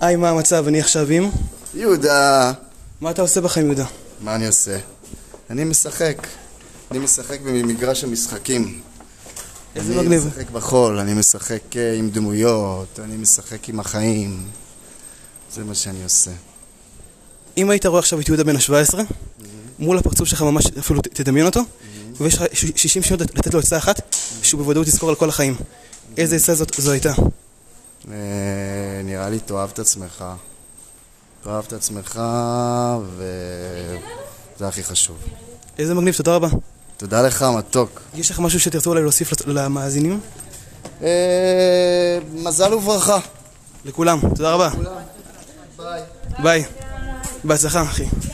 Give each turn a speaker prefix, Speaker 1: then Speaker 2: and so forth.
Speaker 1: היי, מה המצב? אני עכשיו עם?
Speaker 2: יהודה!
Speaker 1: מה אתה עושה בחיים, יהודה?
Speaker 2: מה אני עושה? אני משחק. אני משחק במגרש המשחקים.
Speaker 1: איזה מגניב.
Speaker 2: אני משחק בחול, אני משחק אה, עם דמויות, אני משחק עם החיים. זה מה שאני עושה.
Speaker 1: אם היית רואה עכשיו את יהודה בן ה-17, מול הפרצוף שלך ממש אפילו ת- תדמיין אותו, ויש לך ש- 60 שניות לתת לו עצה אחת, שהוא בוודאות יזכור על כל החיים. איזה עצה זאת זו הייתה?
Speaker 2: אה, נראה לי תאהב את עצמך. תאהב את עצמך, וזה הכי חשוב.
Speaker 1: איזה מגניב, תודה רבה.
Speaker 2: תודה לך, מתוק.
Speaker 1: יש לך משהו שתרצו אולי להוסיף לת- למאזינים?
Speaker 2: אה, מזל וברכה.
Speaker 1: לכולם, תודה רבה. ביי. בהצלחה, אחי.